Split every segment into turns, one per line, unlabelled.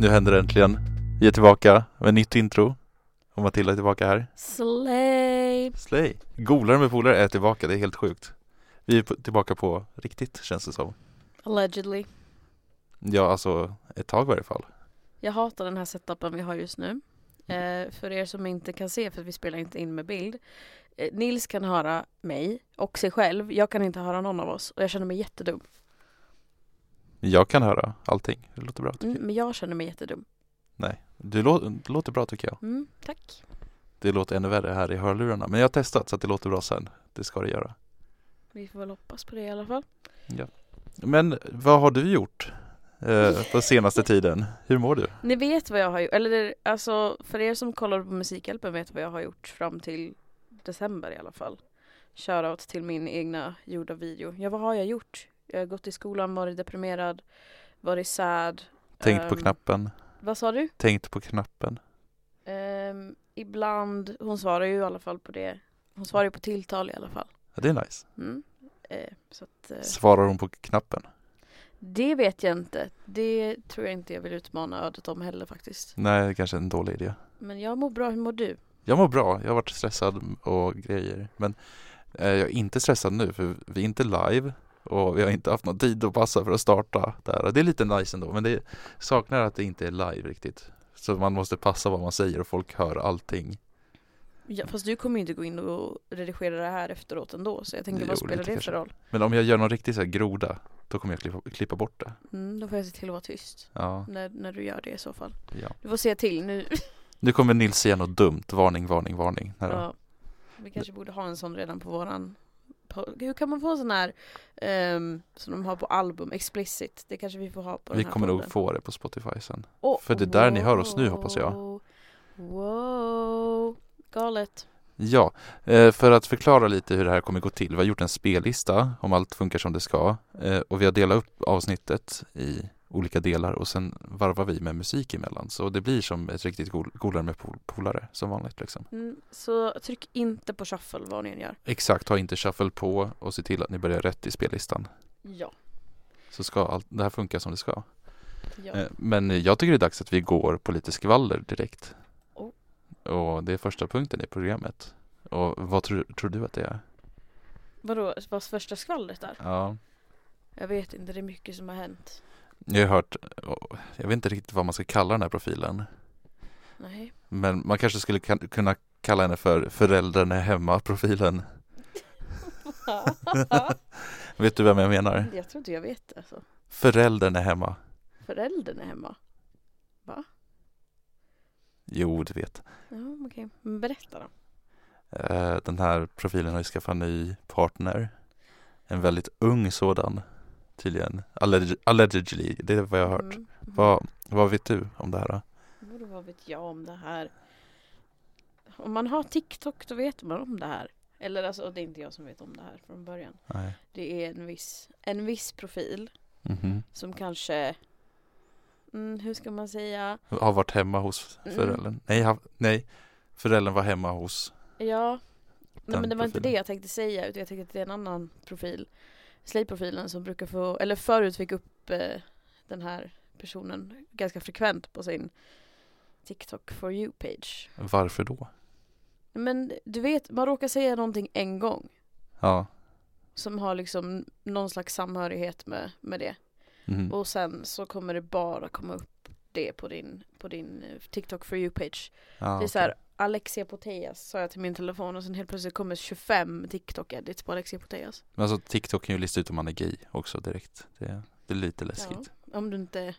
Nu händer det äntligen. Vi är tillbaka med nytt intro. Och Matilda är tillbaka här.
Slay!
Slay! Golare med polare är tillbaka, det är helt sjukt. Vi är på- tillbaka på riktigt känns det som.
Allegedly.
Ja, alltså ett tag i varje fall.
Jag hatar den här setupen vi har just nu. Eh, för er som inte kan se, för vi spelar inte in med bild. Eh, Nils kan höra mig och sig själv. Jag kan inte höra någon av oss och jag känner mig jättedum.
Jag kan höra allting. Det låter bra tycker
Mm, men jag känner mig jättedum.
jag. Du lå- det låter bra tycker jag.
Mm, tack.
Det låter ännu värre här i hörlurarna. Men jag har testat så att det låter bra sen. Det ska det göra.
Vi får väl hoppas på det i alla fall.
Men vad har du gjort eh, på senaste tiden? Hur mår du?
Ni vet vad jag har gjort, eller alltså för er som kollar på Musikhjälpen vet vad jag har gjort fram till december i alla fall. Shoutout till min egna gjorda video. Ja, vad har jag gjort? Jag har gått i skolan, varit deprimerad, varit sad.
Tänkt på
Ehm,
knappen.
Vad sa du?
Tänkt på knappen.
Ehm, ibland, hon svarar ju i alla fall på det. Hon svarar ju på tilltal i alla fall.
Ja, det är nice.
Mm. Eh, så att, eh,
Svarar hon på knappen?
det vet jag inte. Det tror jag inte jag vill utmana ödet om heller faktiskt.
Nej, det är kanske är en dålig idé.
Men jag mår bra, hur mår du?
Jag mår bra. Jag har varit stressad och grejer. Men eh, jag är inte stressad nu för vi är inte live och vi har inte haft någon tid att passa för att starta där. Det är lite nice ändå men det saknar att det inte är live riktigt. Så man måste passa vad man säger och folk hör allting.
Ja, fast du kommer ju inte gå in och redigera det här efteråt ändå så jag tänker
Jo,
vad spelar
lite
det
kanske.
för roll?
Men om jag gör någon riktig så här groda då kommer jag klippa, klippa bort det.
Mm, då får jag se till att vara tyst
Ja,
när, när du gör det i så fall.
ja.
Du får se till nu.
Nu kommer Nils säga något dumt. Varning, varning, varning. Här då.
Ja. Vi kanske borde ha en sån redan på våran på, hur kan man få en sån här ehm, som de har på album, explicit? Det kanske vi får ha på
Vi
den här
kommer
podden.
nog få det på Spotify sen.
Åh,
för det där ni hör oss nu, hoppas jag.
wow. Wow, galet.
Ja, eh, för att förklara lite hur det här kommer gå till. Vi har gjort en spellista om allt funkar som det ska eh, och vi har delat upp avsnittet i olika delar och sen varvar vi med musik emellan. Så det blir som ett riktigt gol- golare med pol- polare som vanligt. Liksom.
Mm, så tryck inte på shuffle vad ni än gör.
Exakt, ha inte shuffle på och se till att ni börjar rätt i spellistan.
Ja.
Så ska allt det här funka som det ska.
ja.
Eh, Men jag tycker det är dags att vi går på lite skvaller direkt.
Oh.
Och det är första punkten i programmet. Och vad tror, tror du att det är?
Vadå, vad första skvallret där?
Ja.
Jag vet inte, det är mycket som har hänt.
Jag har hört, jag vet inte riktigt vad man ska kalla den här profilen.
Nej.
Men man kanske skulle kan- kunna kalla henne för föräldrarna är hemma-profilen. Vet du vem jag menar?
jag tror inte jag vet det alltså.
Föräldrarna är hemma.
Föräldern är hemma.
Jo, du vet.
Ja, okej. Men berätta då.
Eh, Den här profilen har ju skaffat en ny partner. En väldigt ung sådan, tydligen. Alleg- allegedly, det är vad jag har hört.
Mm. Mm.
Vad, vad vet du om det här? då?
Vadå, vad vet jag om det här? Om man har TikTok då vet man om det här. Eller alltså, det är inte jag som vet om det här från början.
Nej.
Det är en viss, en viss profil
Mhm.
som kanske, mm, hur ska man säga?
Har varit hemma hos
Mm.
föräldern. Nej, ha, nej, föräldern var hemma hos.
Ja. Nej
Den
men det var inte det
profilen.
jag tänkte säga utan jag tänkte att det är en annan profil. Slay-profilen som brukar få, eller förut fick upp eh, den här personen ganska frekvent på sin TikTok for you-page.
Varför då?
Men du vet, man råkar säga någonting en gång
Ja.
som har liksom någon slags samhörighet med, med det.
Mhm.
Och sen så kommer det bara komma upp det på din, på din eh, TikTok for you-page.
Ja,
det är
okej.
så här, Alexia Poteas sa jag till min telefon och sen helt plötsligt kommer 25 TikTok-edits på Alexia Poteas.
Men alltså TikTok kan ju lista ut om man är gay också direkt. Det, det är lite läskigt.
Om du inte...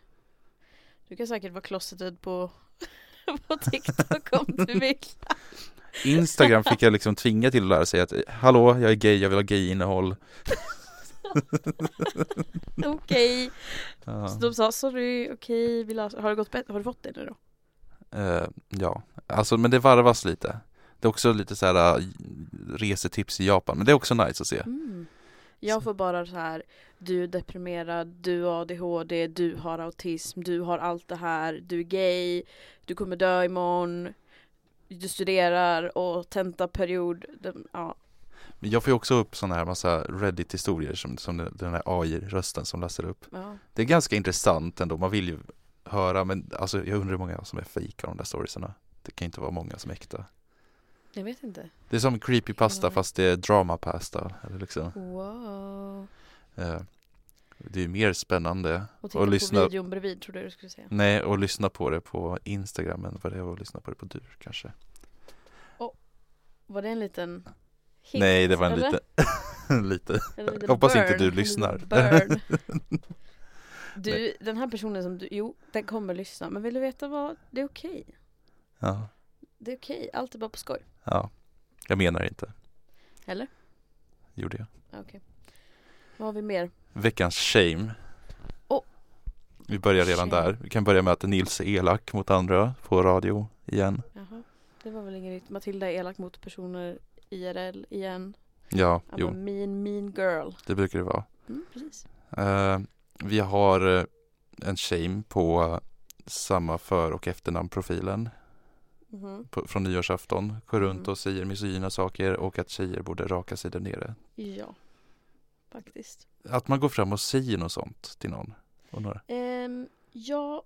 Du kan säkert vara closeted på, på TikTok om du vill.
Instagram fick jag liksom tvinga till att lära sig att hallå, jag är gay, jag vill ha gay-innehåll.
Okej.
Ja.
Så de sa sorry, okej, vill ha... har, det gått bättre? har du fått det nu då?
Eh, ja, alltså men det varvas lite. Det är också lite så här eh, resetips i Japan, men det är också nice att se.
Mm. Jag får bara så här, du är deprimerad, du har ADHD, du har autism, du har allt det här, du är gay, du kommer dö imorgon, du studerar och tentaperiod, de, ja.
Men jag får ju också upp sådana här massa Reddit-historier som, som den den här AI-rösten som läser upp.
ja.
Det är ganska intressant ändå, man vill ju höra men alltså jag undrar hur många som är fejka de där storiesarna. Det kan ju inte vara många som är äkta.
Jag vet inte.
Det är som creepypasta
Ja.
fast det är dramapasta. Eller liksom.
Wow.
eh, det är mer spännande.
Och titta
Och lyssna,
på videon bredvid trodde jag du skulle säga.
nej, och lyssna på det på Instagram än vad det var att lyssna på det på Dur kanske.
Var det en liten hint?
nej, det var en
eller?
liten, en liten.
En liten
Hoppas inte
burn,
du
en liten
lyssnar.
burn. Du, den här personen som du, jo, den kommer lyssna. Men vill du veta vad, det är okej.
Ja,
Det är okej, allt är bara på skoj.
ja. Jag menar inte.
Eller?
Gjorde jag.
Vad har vi mer?
Veckans shame.
Åh.
Vi börjar redan
Shame.
där. Vi kan börja med att Nils är elak mot andra på radio igen.
Jaha, det var väl inget nytt. Matilda är elak mot personer IRL igen.
Ja,
I'm a
jo,
mean, mean girl.
det brukar det vara.
Mm, precis.
Eh, vi har eh, en shame på eh, samma för och efternamnprofilen
Mhm.
på, från nyårsafton. Går runt
Mm.
och säger misogyna saker och att tjejer borde raka sig där nere.
Ja, faktiskt.
Att man går fram och säger något sånt till någon. Och några.
Ehm, ja,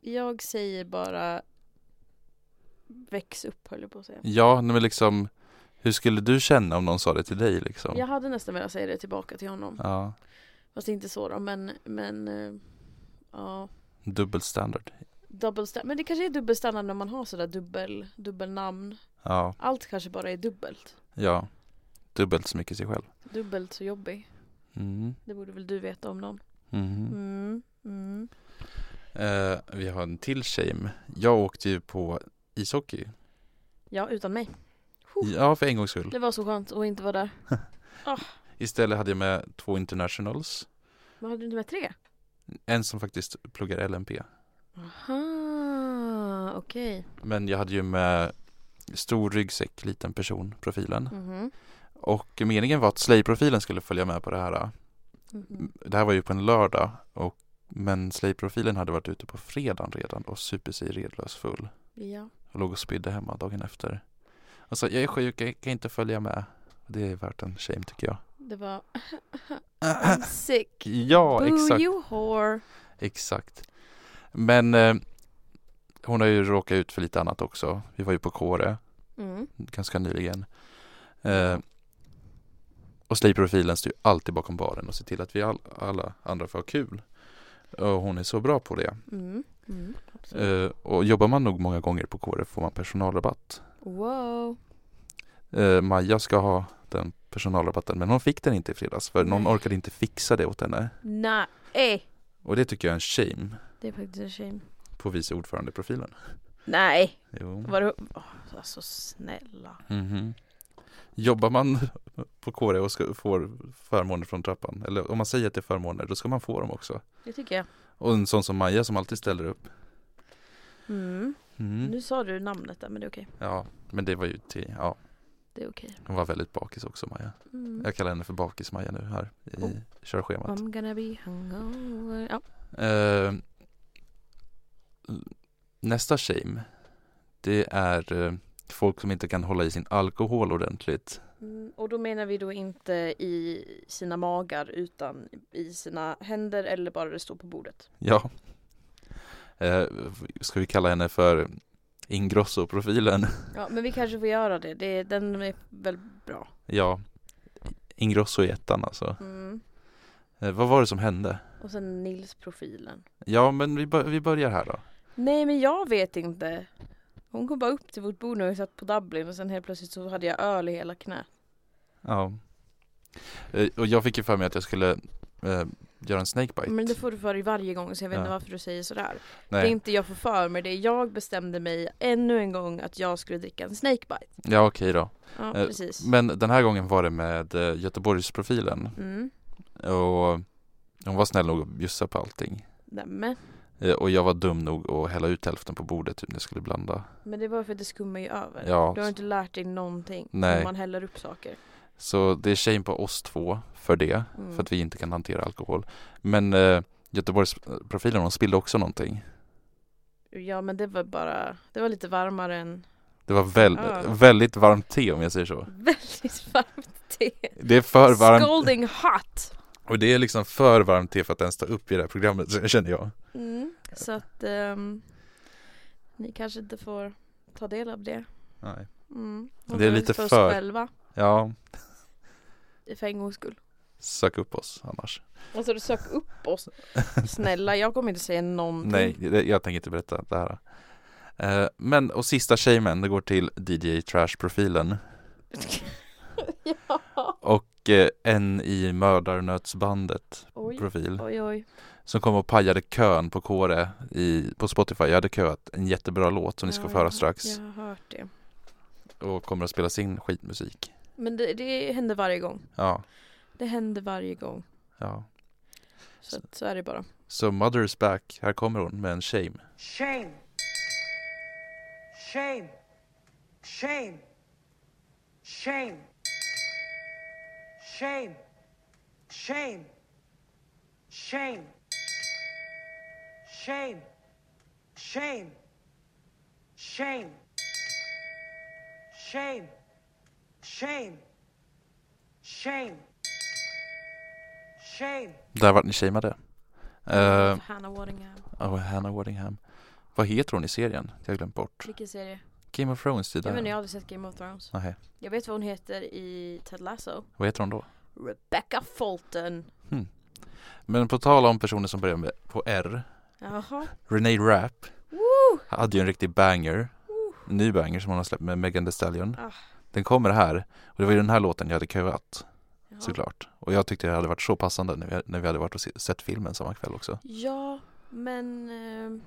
jag säger bara väx upp höll jag på att säga.
Ja, nej, men liksom hur skulle du känna om någon sa det till dig liksom?
Jag hade nästan velat säga det tillbaka till honom.
ja
Fast inte så då, men, men eh, ja.
dubbelstandard.
Dubbelstandard. Men det kanske är dubbelstandard när man har sådär dubbel, dubbelnamn.
Ja,
Allt kanske bara är dubbelt.
ja. Dubbelt så mycket sig själv.
Dubbelt så jobbig.
Mm.
Det borde väl du veta om någon.
Mhm.
Mm, mm.
Eh, vi har en till shame. Jag åkte ju på ishockey.
Ja, utan mig. Huh.
Ja, för en gångs skull.
Det var så skönt att inte vara där.
Istället hade jag med två internationals.
Men hade du inte med tre?
En som faktiskt pluggar LNP.
Aha, okej.
Men jag hade ju med stor ryggsäck, liten person, profilen.
Mhm.
Och meningen var att Slay-profilen skulle följa med på det här.
Mhm.
Det här var ju på en lördag. Och, men Slay-profilen hade varit ute på fredagen redan och super sig redlös full.
Ja.
Och låg och spydde hemma dagen efter. Och sa jag är sjuk, jag kan inte följa med. Det är värt en shame tycker jag.
Det var I'm sick.
Ja,
Boo
exakt.
you whore.
Exakt. Men eh, hon har ju råkat ut för lite annat också. Vi var ju på Kåre
Mm.
ganska nyligen. Eh, och Slay-profilen står ju alltid bakom baren och ser till att vi all, alla andra får ha kul. Och hon är så bra på det.
Mm. Mm. Absolut.
Eh, och jobbar man nog många gånger på Kåre får man personalrabatt.
Wow.
Eh, Maja ska ha den personalrabatten men hon fick den inte i fredags för någon
Nej.
orkade inte fixa det åt henne.
Nej.
Och det tycker jag är en shame
Det är faktiskt en shame.
på vice ordförandeprofilen.
Nej.
Jo.
Var det... Åh, alltså snälla.
Mhm. Jobbar man på KD och ska, får förmåner från trappan, eller om man säger att det är förmåner, då ska man få dem också.
Det tycker jag.
Och en sån som Maja som alltid ställer upp.
Mm.
Mm.
Nu sa du namnet där men det är okej.
Ja, men det var ju till, ja,
Det är okej.
hon var väldigt bakis också Maja.
Mm.
Jag kallar henne för bakis-Maja nu här i
Oh.
körschemat.
I'm gonna be hungover. Ja.
Eh, nästa shame, det är eh, folk som inte kan hålla i sin alkohol ordentligt.
Mm, och då menar vi då inte i sina magar utan i sina händer eller bara det står på bordet.
Ja. Eh, ska vi kalla henne för Ingrosso-profilen?
Ja men vi kanske får göra det. det den är väl bra.
Ja, Ingrosso i ettan alltså.
Mm.
Eh, vad var det som hände?
Och sen Nils-profilen.
Ja, men vi, bör- vi börjar här då.
Nej men jag vet inte. Hon kom bara upp till vårt bord när vi satt på Dublin och sen helt plötsligt så hade jag öl i hela knät.
Ja. Eh, och jag fick ju för mig att jag skulle eh, göra en snakebite.
Men det får du för dig varje gång så jag vet
Ja.
inte varför du säger sådär. Det är
Nej,
inte jag får för mig det. är Jag bestämde mig ännu en gång att jag skulle dricka en snakebite.
ja okej då.
Ja
Eh,
precis.
Men den här gången var det med eh, Göteborgsprofilen
Mm.
och hon var snäll nog att bjussa på allting.
Nämen.
Eh, och jag var dum nog att hälla ut hälften på bordet typ när jag skulle blanda.
Men det var för att det skummar ju över.
Ja,
Du har inte lärt dig någonting
Nej.
när man häller upp saker.
så det är shame på oss två för det.
Mm.
För att vi inte kan hantera alkohol. Men eh, Göteborgsprofilen, hon spillde också någonting.
Ja men det var bara, det var lite varmare än
Det var väl,
Ja.
väldigt varmt te om jag säger så.
väldigt varmt te.
Det är för varmt
Scalding hot!
och det är liksom för varmt te för att ens ta upp i det här programmet så- känner jag.
Mm. Så att ehm, ni kanske inte får ta del av det.
Nej.
Mm.
Det är
Håller
lite
oss för oss
för-
själva
Ja,
för en gångs skull.
sök upp oss annars.
Alltså du sök upp oss. Snälla, jag kommer inte säga någonting.
Nej, det- jag tänker inte berätta det här. Eh, Men och sista shamen, det går till DJ Trash-profilen.
ja.
Och eh, en i Mördarnötsbandet
Oj.
profil.
Oj oj.
Som kom och pajade kön på Kåre i, på Spotify. Jag hade köat en jättebra låt som ni ska
Ja,
få höra
jag-
strax.
Jag har hört det.
Och kommer att spela sin skitmusik.
Men det, det händer varje gång.
Ja,
Det händer varje gång.
ja.
Så, att, så är det bara.
Så Mother's Back, här kommer hon med en shame.
Shame. Shame. Shame. Shame. Shame. Shame. Shame. Shame. Shame. Shame. Shame. Shame. Shame. Shame.
Där vart ni shameade. Eh,
Hanna Waddingham.
och Hannah Waddingham. Vad heter hon i serien? Jag har glömt bort.
Vilken serie?
Game of Thrones
Jag vet inte, jag har
tidigare.
aldrig sett Game of Thrones.
Nej,
Jag vet vad hon heter i Ted Lasso.
vad heter hon då?
Rebecca Fulton.
Men på tal om personer som börjar med, på R.
Jaha.
Renee Rapp
Woo!
hade ju en riktig banger.
Woo!
En ny banger som hon har släppt med Megan Thee Stallion.
Ah.
Den kommer här. Och det var ju den här låten jag hade köat
Jaha.
såklart. Och jag tyckte det hade varit så passande när vi, när vi hade varit och se, sett filmen samma kväll också.
Ja, men ehm,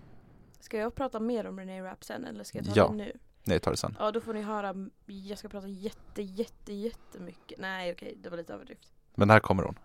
ska jag prata mer om Renee Rapp sen eller ska jag ta
Ja.
det nu?
Nej, jag tar det sen.
Ja, då får ni höra. Jag ska prata jätte, jätte, jättemycket. Nej, okej, det var lite överdrift.
Men här kommer hon.